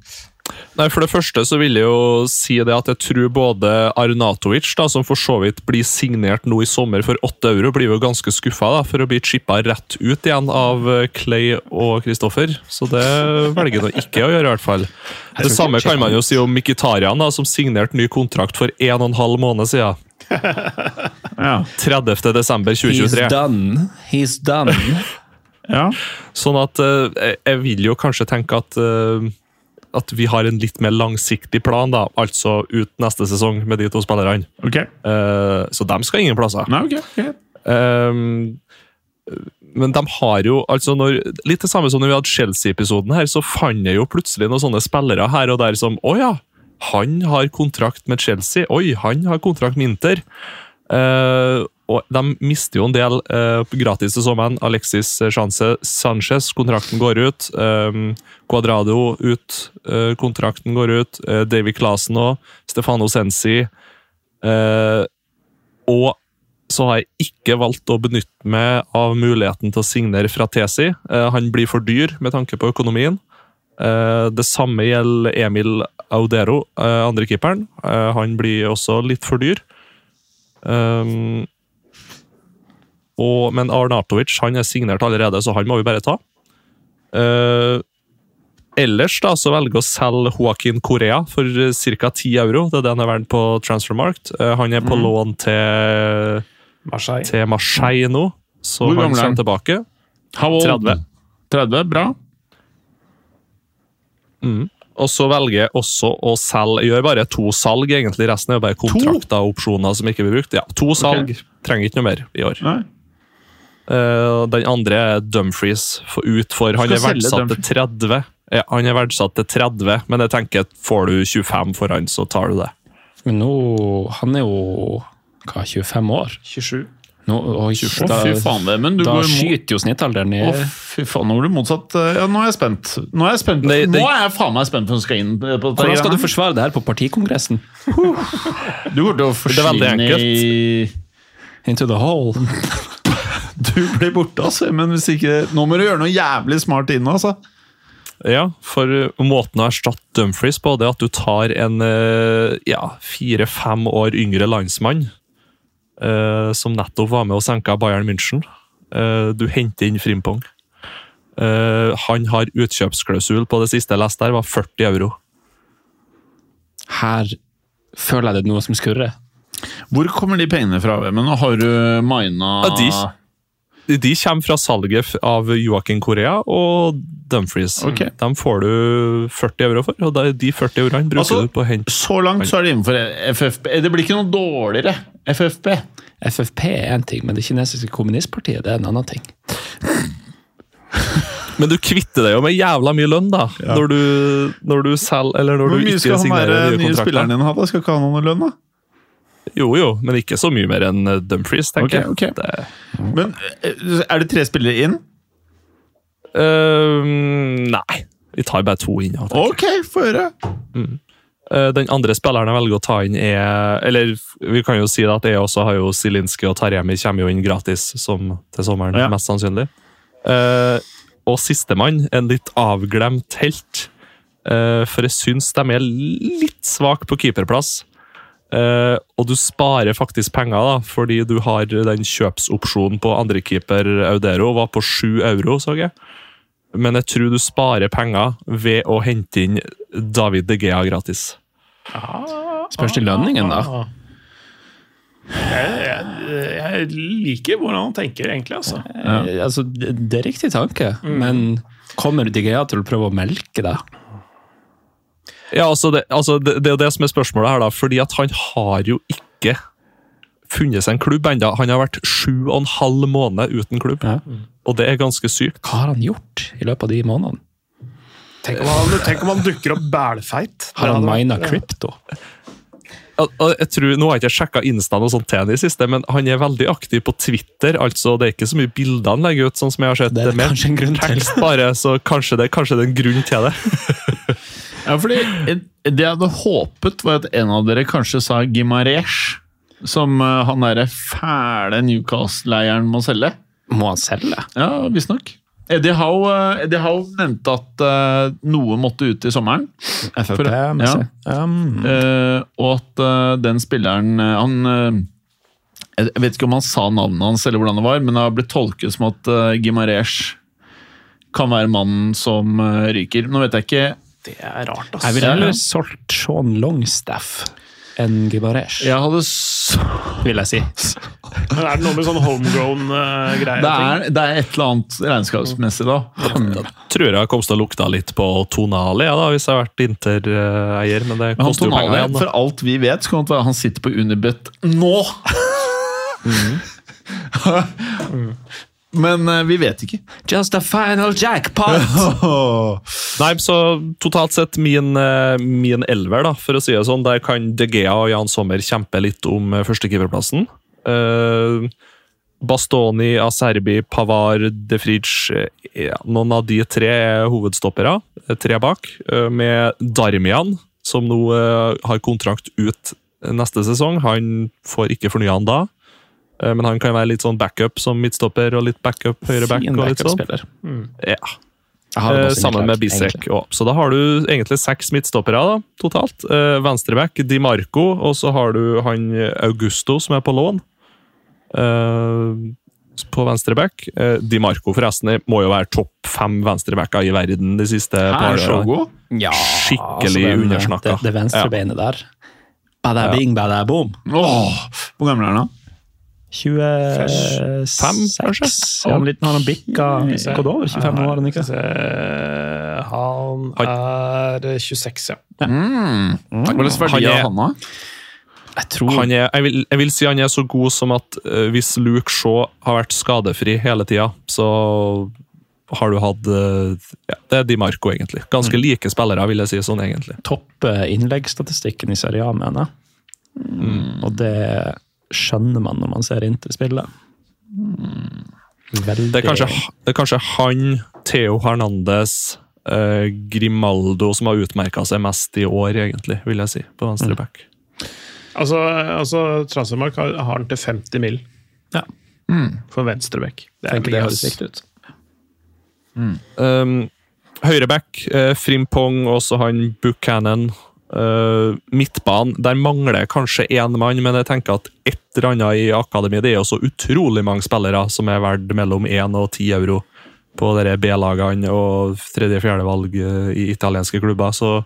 Nei, For det første så vil jeg jo si det at jeg tror både Arnatovic, da, som for så vidt blir signert nå i sommer for åtte euro, blir jo ganske skuffa for å bli chippa rett ut igjen av eh, Clay og Kristoffer. Så det velger han ikke å gjøre, i hvert fall. Det samme kan man jo si om Mkhitarian, da, som signerte ny kontrakt for en og en halv måned siden. Ja. 30. desember 2023. done. He's done. [laughs] Ja. Sånn at eh, jeg- jeg vil jo kanskje tenke at eh, at vi har en litt mer langsiktig plan, da, altså ut neste sesong med de to spillerne. Ok. Eh, så de skal ingen plasser. Nei, ok, ok. Ehm, men de har jo altså når, Litt det samme som når vi hadde Chelsea-episoden her, så fant jeg jo plutselig noen sånne spillere her og der som Å ja, han har kontrakt med Chelsea. Oi, han har kontrakt med Inter. Eh, og de mister jo en del eh, gratis til sommeren. Alexis eh, Chance, Sanchez, kontrakten går ut. Um, Cuadrado ut, eh, kontrakten går ut. Eh, Davy Clasen òg. Stefano Sensi. Eh, og så har jeg ikke valgt å benytte meg av muligheten til å signere fra Tesi. Eh, Han blir for dyr med tanke på økonomien. Eh, Det samme gjelder Emil Audero, eh, andre keeperen. Eh, Han blir også litt for dyr. Um, og, men Arnatovic han er signert allerede, så han må vi bare ta. Eh, ellers da, så velger å selge Joaquin Korea for ca. 10 euro. Det er det han er verdt på Transfermarkt. Eh, han er på lån til Marseille. til Marseille nå. Så Hvor han gammel er han? kommer tilbake. How old? 30. 30, Bra. Og så velger jeg også å selge Jeg gjør bare to salg, egentlig. Resten er jo bare kontrakter og opsjoner som ikke blir brukt. Ja, To salg. Trenger ikke noe mer i år. Nei. Eh, den andre er Dumfries for- ut for Han Skal er selge verdsatt til 30. Ja, han er verdsatt til 30, men jeg tenker at får du 25 for han, så tar du det. Men nå Han er jo hva, 25 år? 27. Nå, oi, Å, da fy faen, Vemund. Du da går imot skyter jo snittalderen i Å, fy faen, nå blir det motsatt. Eh, Ja, nå er jeg spent. Nå er jeg spent Nei, det- Nå er jeg faen meg spent på om du skal inn på dette. Hvordan greiene skal du forsvare det her på partikongressen? her. Du går til å veldig forsvinne i Into the hole. [laughs] Du blir borte, altså. Men hvis ikke Nå må du gjøre noe jævlig smart inn, altså. Ja, for uh, måten å erstatte Dumfries på, det er at du tar en uh, ja, fire-fem år yngre landsmann, uh, som nettopp var med og senka Bayern München. Uh, Du henter inn Frimpong. Uh, Han har utkjøpsklausul på det siste jeg leste der, var 40 euro. Her føler jeg det er noe som skurrer. Hvor kommer de pengene fra? Men har du mina Ja, de- De kommer fra salget f- av Joakim Korea og Dumfries. Ok. Dem får du 40 euro for, og da- de 40 euroene bruker Altså- du på å hente Så langt så er det innenfor FFP. Eh, Det blir ikke noe dårligere FFP. FFP er én ting, men det kinesiske kommunistpartiet det er en annen ting. Men du kvitter deg jo med jævla mye lønn, da. Når du, når du selger Eller når Hvor du mye ikke skal han være signerer nye nye spilleren kontrakter. din ha? da? Skal ikke han ha noe lønn, da? Jo, jo, men ikke så mye mer enn eh, Dumfries, tenker Ok, ok. jeg. Det, Men eh, er det tre spillere inn? eh, Øhm, nei. Vi tar bare to inn. ja, tenker jeg. Ok, få høre. Eh, Den andre spilleren jeg velger å ta inn, er Eller vi kan jo si det at jeg også har jo Zielinski og Tarjemi kommer jo inn gratis som, til sommeren, Ja. mest sannsynlig. Eh, og sistemann, en litt avglemt helt. Eh, for jeg syns de er litt svake på keeperplass. Eh, og du sparer faktisk penger, da, fordi du har den kjøpsopsjonen på andrekeeper Audero. Var på sju euro, så jeg. Men jeg tror du sparer penger ved å hente inn David De Gea gratis. Spørs til lønningen, Ah. da. Jeg, jeg, jeg liker hvordan han tenker, egentlig. altså. Eh, Altså, det, det er riktig tanke, men kommer De Gea til å prøve å melke deg? Ja, altså det, altså det, det er jo det som er spørsmålet her, da. Fordi at han har jo ikke funnet seg en klubb ennå. Han har vært sju og en halv måned uten klubb. Ja. Og det er ganske sykt. Hva har han gjort i løpet av de månedene? Tenk om han, tenk om han dukker opp bælfeit. Har Det han hadde mina vært- krypto? Al- al- Jeg tror, nå har jeg ikke sjekka Instaen og sånt til han i det siste, men han er veldig aktiv på Twitter. altså Det er ikke så mye bilder han legger ut, sånn som jeg har sett. Det er mer kanskje en grunn til. tekst bare, så kanskje det, kanskje det er en grunn til det. Ja, fordi Det jeg hadde håpet, var at en av dere kanskje sa Gimaresh. Som eh, han derre fæle Newcastle-leieren må selge. Må han selge? Ja, visstnok. Eddie Howe, eh, Eddie Howe nevnte at eh, noe måtte ut i sommeren. FFP, ja. messig. Um, Eh, og at eh, den spilleren eh, Han eh, Jeg vet ikke om han sa navnet hans, eller hvordan det var, men det har blitt tolket som at uh, Gimaresh kan være mannen som eh, ryker. Nå vet jeg ikke Det er rart, altså. jeg ville Ja, ja. heller solgt Sean Longstaff enn Gibaresh, Jeg hadde så vil jeg si. Men er det noe med sånn homegrown eh, greier? Det er, det er et eller annet regnskapsmessig, da. Tror jeg kom til å lukta litt på Tonali, ja, da, hvis jeg har vært Inter-eier. Men det Men han koster jo penger Tonali, igjen. for da. alt vi vet, så kan det være han sitter på Unibet nå! Mhm. [laughs] Men eh, vi vet ikke. Just a final jackpot! Nei, så totalt sett min, eh, min elver, da, for å si det sånn. Der kan De Gea og Jan Sommer kjempe litt om eh, førstekeeperplassen. Eh, Bastoni, Aserbi, Pavar, De Fridge eh, ja, Noen av de tre er hovedstoppere. eh, Tre bak. eh, Med Darmian, som nå eh, har kontrakt ut eh, neste sesong. Han får ikke fornya han da. eh, Men han kan være litt sånn backup som midtstopper og litt backup høyre back. Fin og litt sånn. backup-spiller. Mm. Ja. Jeg har det Eh, også i mitt sammen lag, med Bisek. egentlig. også. Så da har du egentlig seks midtstoppere da, totalt. Eh, Venstreback, Di Marco, og så har du han Augusto som er på lån. Eh, på venstreback. Eh, Di Marco forresten jeg må jo være topp fem venstrebacker i verden de siste par Er så årene. god? Ja, Skikkelig altså, den- undersnakka. Det, det venstre beinet der. Bada bing, bada boom. Åh, [laughs] hvor gammel er han? 25, kanskje? Er han liten, har han bikka gått over 25 år? han ikke? Eh, Han er 26, ja. da? Hva Han slags verdi er- har han, da? Jeg tror Han er, jeg, vil, jeg vil si han er så god som at eh, hvis Luke Shaw har vært skadefri hele tida, så har du hatt eh, ja, Det er Di Marco, egentlig. Ganske like spillere, vil jeg si sånn, egentlig. topper innleggsstatistikken i Serie A, mener jeg. Mm. Og det skjønner man når man ser Inter spille. Mm. Veldig Det er kanskje, det er kanskje han, Theo Hernandez, eh, Grimaldo som har utmerka seg mest i år, egentlig, vil jeg si, på venstre back. Altså, altså Transfermark har, har han til 50 mil Ja. Mm. for venstrebekk. Det Tenker det mye, høres ass. riktig ut. Um, Høyreback, eh, Frimpong, også han Buchanan. Eh, midtbanen, der mangler jeg kanskje én mann, men jeg tenker at et eller annet i akademiet Det er jo så utrolig mange spillere som er verdt mellom 1 og 10 euro på dere B-lagene og tredje-fjerde valg eh, i italienske klubber, så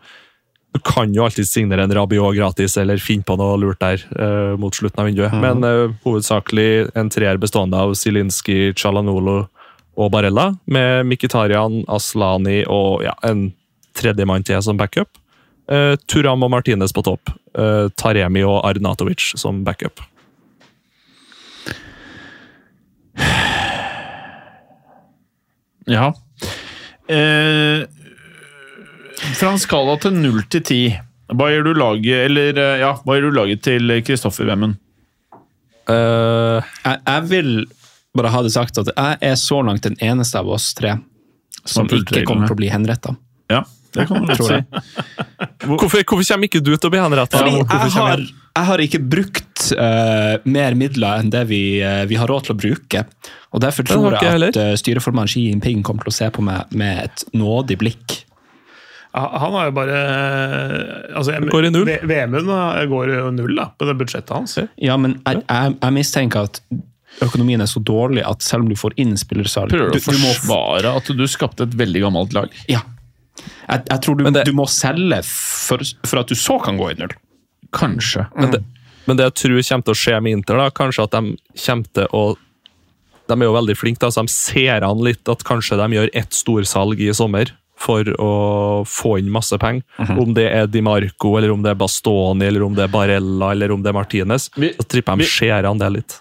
du kan jo alltid signere en Rabiot gratis eller finne på noe lurt der eh, mot slutten av vinduet. Mhm. Men eh, hovedsakelig en treer bestående av Zielinski, Chalanolo og Barella, med Mkhitarian, Aslani og ja, en tredjemann til som backup. Eh, Turam og Martinez på topp. Eh, Taremi og Arnatovic som backup. Ja. Eh, fra en skala til 0 til 10, hva gjør du laget, eller, eh, ja, hva gjør du laget til Kristoffer Wemmen? Eh, Jeg, jeg vil bare ha det sagt at jeg er så langt den eneste av oss tre som har fulgt ikke kommer reglene. til å bli henretta. Ja, det kan man godt si. Hvorfor, hvorfor kommer ikke du til å bli henretta? Fordi Hvorfor jeg kommer har, jeg- jeg har ikke brukt eh, mer midler enn det vi, eh, vi har råd til å bruke. Og Derfor har tror ikke jeg jeg at heller. eh, styreformann Xi Jinping kommer til å se på meg med et nådig blikk. Han har jo bare altså, jeg- Går i null. V- Vemund går jo null da, på det budsjettet hans. Ja, men jeg, jeg, jeg mistenker at økonomien er så dårlig at selv om du får inn spillersalg Prøver du, du å du må, forsvare at du skapte et veldig gammelt lag? ja. jeg, jeg tror du, Men det- du må selge for, for at du så kan gå i null. Kanskje. Men det, men det jeg tror kommer til å skje med Inter, da, kanskje at de kommer til å De er jo veldig flinke, da, så de ser an litt at kanskje de gjør ett storsalg i sommer for å få inn masse penger. Mhm. Om det er Di Marco, eller om det er Bastoni, eller om det er Barella, eller om det er Martinez. Vi- så tripper de vi- ser an det litt.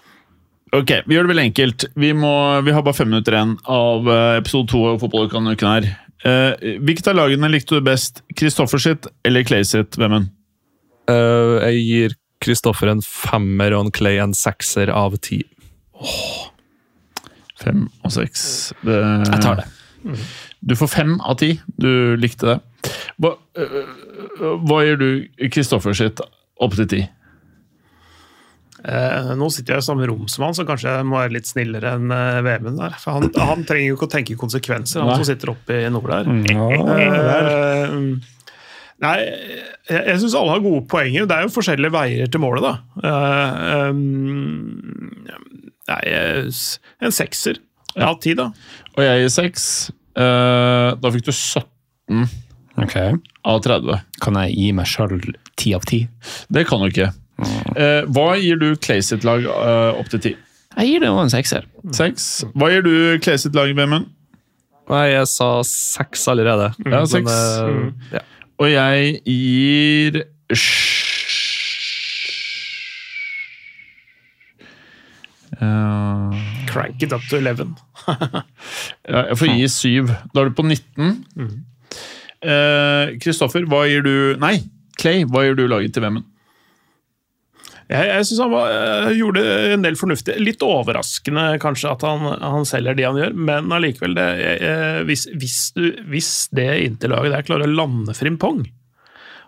Ok, Vi gjør det veldig enkelt. Vi, må, vi har bare fem minutter igjen av eh, episode to av Fotballuka denne uken. her. Eh, hvilket av lagene likte du best? Kristoffer sitt eller Clay sitt? Hvem enn? Eh, jeg gir Kristoffer en femmer og en Clay en sekser av ti. Fem og seks. Jeg tar det. Du får fem av ti. Du likte det. Hva, øh, hva gjør du Kristoffer sitt opp til ti? Eh, nå sitter jeg i samme rom som han, så kanskje jeg må være litt snillere enn eh, Vemund der. For han, han trenger jo ikke å tenke konsekvenser, han som sitter oppe i nord der. Mm. Eh, nei, jeg, jeg syns alle har gode poenger. Det er jo forskjellige veier til målet, da. Eh, um, nei, jeg s- en sekser. Ja, ti, da. Og jeg gir seks. Eh, da fikk du 17 av 30. Kan jeg gi meg sjøl ti av ti? Det kan du ikke. Eh, hva gir du Clay sitt lag eh, opp til ti? Jeg gir det også en sekser. Seks. Hva gir du Clay sitt lag, Vemund? Nei, jeg sa seks allerede. Ja, seks. eh, Mm. ja. Og jeg gir Eh, Crank it up to 11. Ja, jeg får gi syv. Da er du på 19. Mm. Kristoffer, hva gir du Nei, Clay, hva gir du laget til Vemund? Jeg, jeg syns han var, eh, gjorde en del fornuftig. Litt overraskende kanskje at han, han selger de han gjør, men allikevel det, jeg- jeg- hvis, hvis, du, hvis det interlaget der klarer å lande Frimpong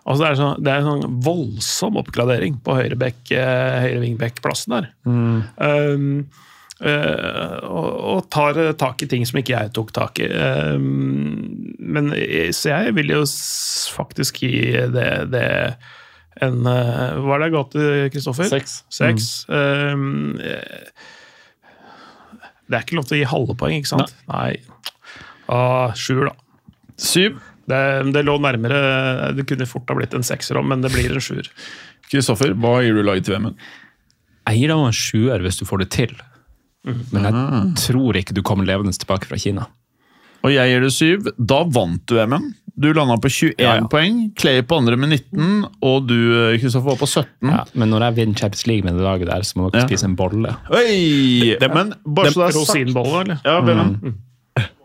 altså det, er sånn, det er en sånn voldsom oppgradering på høyre, bekk, eh, høyre vingbekk-plassen der. Mm. Um, eh, og, og tar eh, tak i ting som ikke jeg tok tak i. Um, men jeg- så jeg vil jo s- faktisk gi det, det en eh, Hva er det jeg ga til Kristoffer? Seks. Mm. Seks. Um, eh, det er ikke lov til å gi halve poeng, ikke sant? Nei. Ah, Sjuer, da. Syv. Det, det lå nærmere Det kunne fort ha blitt en sekser òg, men det blir en sjuer. Kristoffer, hva gir du laget til Vemund? Jeg gir deg også en sjuer hvis du får det til. Men Mm. jeg tror ikke du kommer levende tilbake fra Kina. Og jeg gir det syv. Da vant du, Vemund. Du landa på 21 Ja, ja. poeng. Clay på andre med 19, og du, eh, Kristoffer, var på 17. Men når jeg vinner Champions League med det laget der, så må dere Ja. spise en bolle. Oi! Men bare så det er sagt Rosinbolle, eller? ja, Vemund.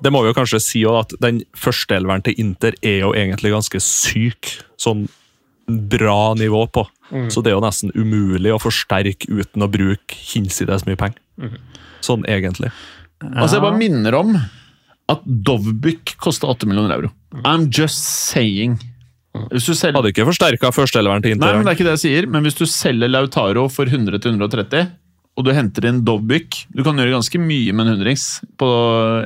det må vi jo kanskje si også, at den første elveren til Inter er jo egentlig ganske syk. Sånn bra nivå på. Så det er jo nesten umulig å forsterke uten å bruke hinsides mye penger. Sånn egentlig. Altså, jeg bare minner om at Dovbyk kosta 8 millioner euro. I'm just saying. Hvis du selger Hadde ikke forsterka førsteelveren til Nei, Inter. men det er ikke det jeg sier. Men hvis du selger Lautaro for 100 til 130, og du henter inn Dovbyk Du kan gjøre ganske mye med en hundrings på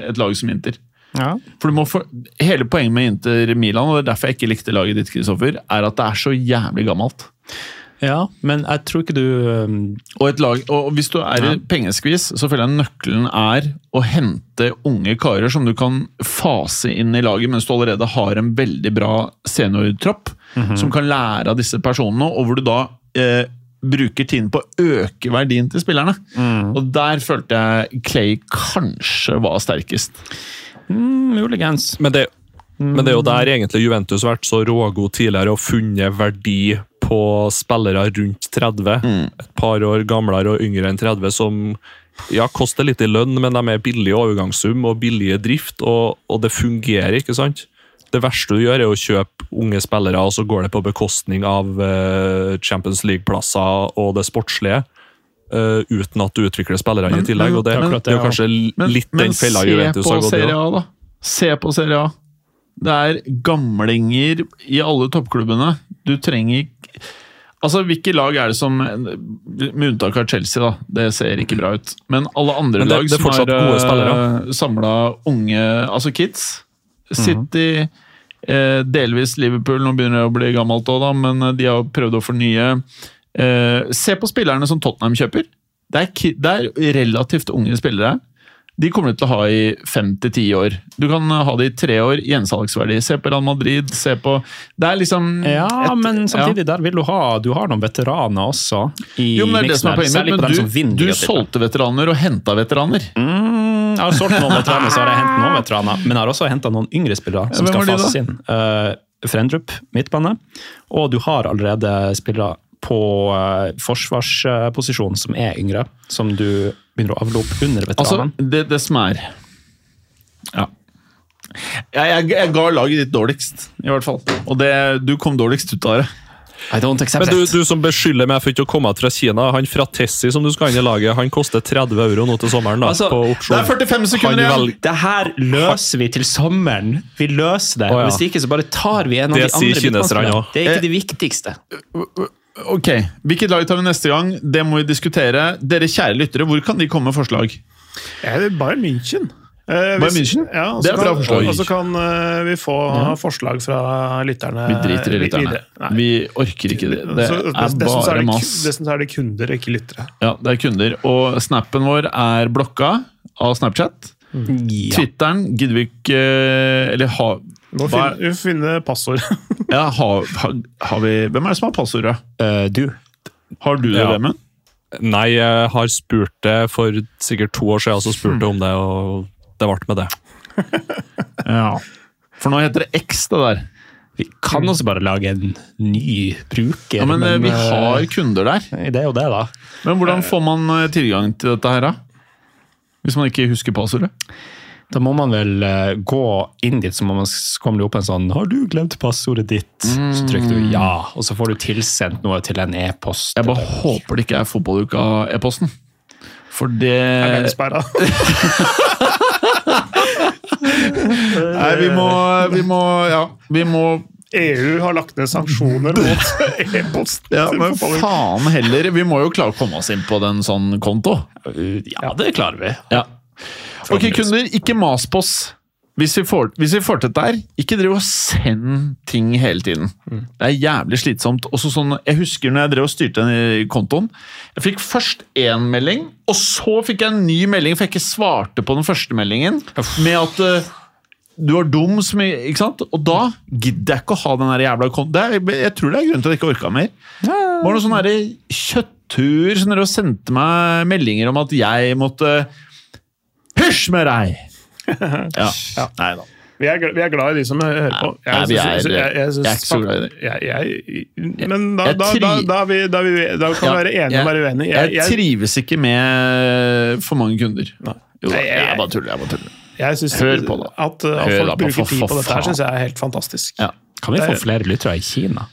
et lag som Inter. For du må få, Hele poenget med Inter Milan, og det er derfor jeg ikke likte laget ditt, Kristoffer, er at det er så jævlig gammelt. Ja, men jeg tror ikke du um, Og, et lag, og hvis du er i pengeskvis, så føler jeg nøkkelen er å hente unge karer som du kan fase inn i laget, mens du allerede har en veldig bra seniortropp, som kan lære av disse personene, og hvor du da eh, bruker tiden på å øke verdien til spillerne. Og der følte jeg Clay kanskje var sterkest. Muligens. Men det, men det er jo der egentlig Juventus har vært så rågod tidligere og funnet verdi på spillere rundt 30. Et par år gamlere og yngre enn 30 som ja, koster litt i lønn, men de er billige overgangssum og billige drift, og, og det fungerer, ikke sant? Det verste du gjør, er å kjøpe unge spillere, og så går det på bekostning av eh, Champions League-plasser og det sportslige. eh, uten at du utvikler spillerne i Men- tillegg. men- og Det, akkurat det er jo kanskje litt den fella se Juventus har på gått i. da. Serie A, da. Se på Serie A. Det er gamlinger i alle toppklubbene. Du trenger ikk- Altså, Hvilke lag er det som Med unntak av Chelsea, da. Det ser ikke bra ut. Men alle andre Men det- lag det er som fortsatt gode har spillere. Mhm. samla unge Altså kids. City, eh, delvis Liverpool, nå begynner det å bli gammelt òg, da, men eh, de har jo prøvd å fornye. Eh, se på spillerne som Tottenham kjøper. Det er, ki- det er relativt unge spillere. De kommer du til å ha i fem til ti år. Du kan eh, ha det i tre år. Gjensalgsverdi. Se på Real Madrid, se på Det er liksom Ja, et- men samtidig, der vil du ha Du har noen veteraner også. I Jo, men det er det miksen som er her, poenget Særlig på mitt. dem som Men vinner. Mm. de du, du titlene. solgte veteraner og henta veteraner. Jeg har solgt noen veteraner, så har jeg hentet noen veteraner. Men jeg har også henta noen yngre spillere som Hvem skal var de da? fases inn. Uh, Frendrup, midtbane. Og du har allerede spillere på eh, forsvarsposisjon som er yngre, som du begynner å avle opp under Altså, veteranen. det, det som er Ja. Jeg, jeg, jeg ga laget ditt dårligst, i hvert fall. Og det, du kom dårligst ut av det. I don't accept Men du, it. du som beskylder meg for ikke å komme fra Kina, han fra Tessi som du skal ha inn i laget, han koster 30 euro nå til sommeren da, Altså, på Det opsjon. er 45 Han sekunder igjen! velger- Det her løser vi til sommeren. Vi løser det. Å, ja. Hvis ikke, så bare tar vi en av Det de andre. sier Eh, kineserne midtbanespillerne. også. Det er ikke det viktigste. Ok, Hvilket lag tar vi neste gang? Det må vi diskutere. Dere kjære lyttere, hvor kan de komme med forslag? Eh, Bayern München. Eh, hvis- München? Ja, og Det så er et bra kan- forslag. Og så kan eh, vi få forslag fra lytterne. Vi driter i lytterne. videre. Nei. Vi orker ikke det. Det Så- er dessuten så er bare det ku- mas. Dessuten så er det kunder, ikke lyttere. Ja, det er kunder. Og snappen vår er blokka av Snapchat. Mm. Twitteren gidder vi ikke eh, Eller har Må hva finne, er- vi må finne passord. ja, har, har, har vi Hvem er det som har passordet? Eh, du. Har du det, Ja. Vemund? Nei, jeg har spurt det for sikkert to år siden, så spurte jeg om det, og det ble med det. Ja. For nå heter det X, det der. Vi kan også bare lage en ny bruker. Ja, men, eh, vi eh, har kunder der. Det er jo det, da. Men hvordan får man eh, tilgang til dette her, da? Hvis man ikke husker passordet? Da må man vel eh, gå inn dit, så må man s- kommer det opp en sånn 'Har du glemt passordet ditt?' Så trykker du 'ja', og så får du tilsendt noe til en e-post. Jeg bare håper det ikke er fotballuka-e-posten. For det Sperra. [laughs] Nei, vi må, vi må Ja, vi må EU E har lagt ned sanksjoner [laughs] mot e-post. ja, Men faen heller, vi må jo klare å komme oss inn på den sånn konto. Ja, det klarer vi. Ja. Ok, kunder, ikke mas på oss. Hvis vi, får, hvis vi får til dette her, ikke driv og send ting hele tiden. Det er jævlig slitsomt. Også sånn, jeg husker når jeg drev og styrte den i kontoen. Jeg fikk først én melding, og så fikk jeg en ny melding, for jeg ikke svarte på den første meldingen. Med at eh, du er dum som i- Ikke sant? Og da gidder jeg ikke å ha den der jævla kontoen. Det er- Jeg tror det er grunnen til at jeg ikke orka mer. Det var noen sånne der kjøttur som dere sendte meg meldinger om at jeg måtte Hysj med [laughs] deg! Ja. Nei da. Vi er, gl- vi er glad i de som hører på. Nei, vi er- synes- synes jeg er ikke så glad i det. Jeg, jeg, men da, Jeg da, tri- da, da, er vi, da, er vi, da kan vi være enige og være uenige. Jeg, trives ikke med for mange kunder. Jo, da, Nei, jeg- jeg bare tuller. Jeg bare tuller. Jeg synes Hør på da. At, uh, at Hør folk da på, bruker for- tid for på dette her, faen. syns jeg er helt fantastisk. Ja. Kan vi få flere lyttere i Kina?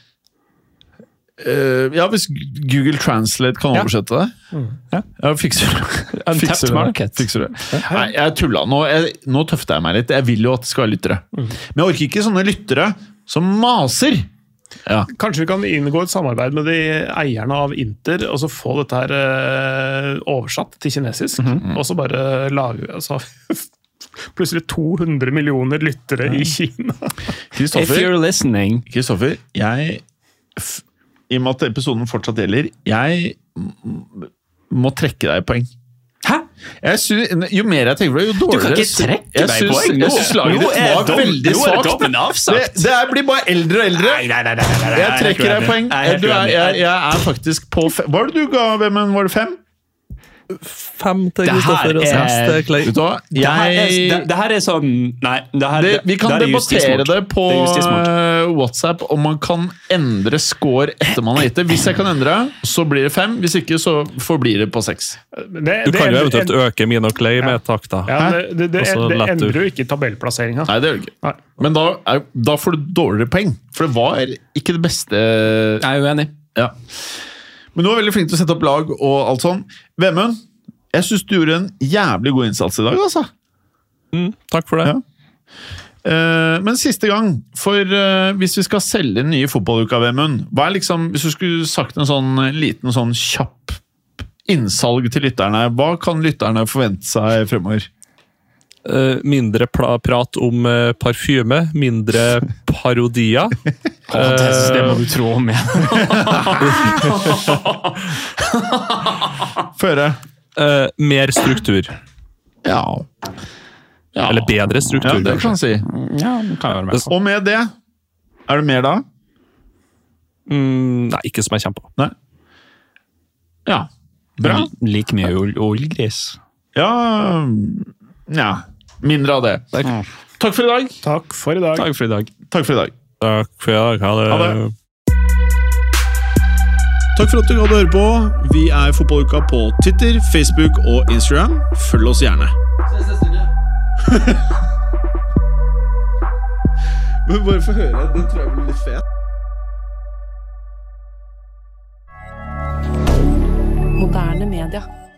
Eh, ja, hvis Google Translate kan oversette det. Mm. Ja, fikser det. Untapped Fikser det. market. Fikser det. Nei, jeg tulla. Nå, jeg, nå tøfter jeg meg litt. Jeg vil jo at det skal være lyttere. Mm. Men jeg orker ikke sånne lyttere som maser! Ja. Kanskje vi kan inngå et samarbeid med de eierne av Inter, og så få dette her eh, oversatt til kinesisk. Mhm. Og så bare lage altså, [laughs] Plutselig 200 millioner lyttere i Kina. If Kristoffer, you're listening Kristoffer, jeg f- I og med at episoden fortsatt gjelder, jeg m- må trekke deg i poeng. Hæ? Jeg synes, jo mer jeg tenker på det, jo dårligere kan ikke sy- trekke jeg meg i synes- poeng. Altså, Jeg Nå- syns laget nå ditt er var dom- nå veldig er svakt. dommen avsagt. Det, det her blir bare eldre og eldre. Jeg trekker deg i poeng. Nei, jeg er Du er, uenig. jeg, jeg er faktisk på fem. Hva var det du ga, Vemund? Var det fem? Fem til Det her Kristoffer og er- seks til Clay. Vet du hva? Det her er, Jeg det, det her er sånn Nei, det her det, vi kan det her er debattere justismord. det på Det er justismord. eh, WhatsApp om man kan endre score etter man har gitt det. Hvis jeg kan endre, så blir det fem. Hvis ikke, så forblir det på seks. Du kan jo eventuelt øke mine og Clay med takta. Ja, det, det, det, Hæ? Og så det lett endrer du. jo ikke tabellplasseringa. Nei, det gjør det ikke. Nei. Men da, er, da får du dårligere poeng, for det var ikke det beste Jeg er uenig. ja. Men du var veldig flink til å sette opp lag og alt sånn. Vemund, jeg syns du gjorde en jævlig god innsats i dag, altså. Takk for det. Eh, Men siste gang, for eh, hvis vi skal selge den nye fotballuka-VM-en Hva er liksom, Hvis du skulle sagt en sånn eh, liten sånn kjapp innsalg til lytterne, hva kan lytterne forvente seg fremover? Eh, mindre pla prat om eh, parfyme, [laughs] mindre parodier. det, det må du tro om igjen. Føre? eh, mer struktur. Ja, Ja. Eller bedre ja struktur. det kanskje. kan jeg [laughs] si. Ja, det kan jeg være med på. Og med det Er det mer da? mm, nei, ikke som jeg kommer på. Nei? Ja. Bra. Like mye ol- olgris. Ja Nja. Mindre av det. Takk for i dag. Takk for i dag. Takk for i dag. Takk for i dag. Takk for i dag. Ha det. Takk for at du gadd å høre på. Vi er Fotballuka på Twitter, Facebook og Instagram. Følg oss gjerne. Ses neste uke. [laughs] Men bare få høre. Den tror jeg blir litt fet. Moderne media.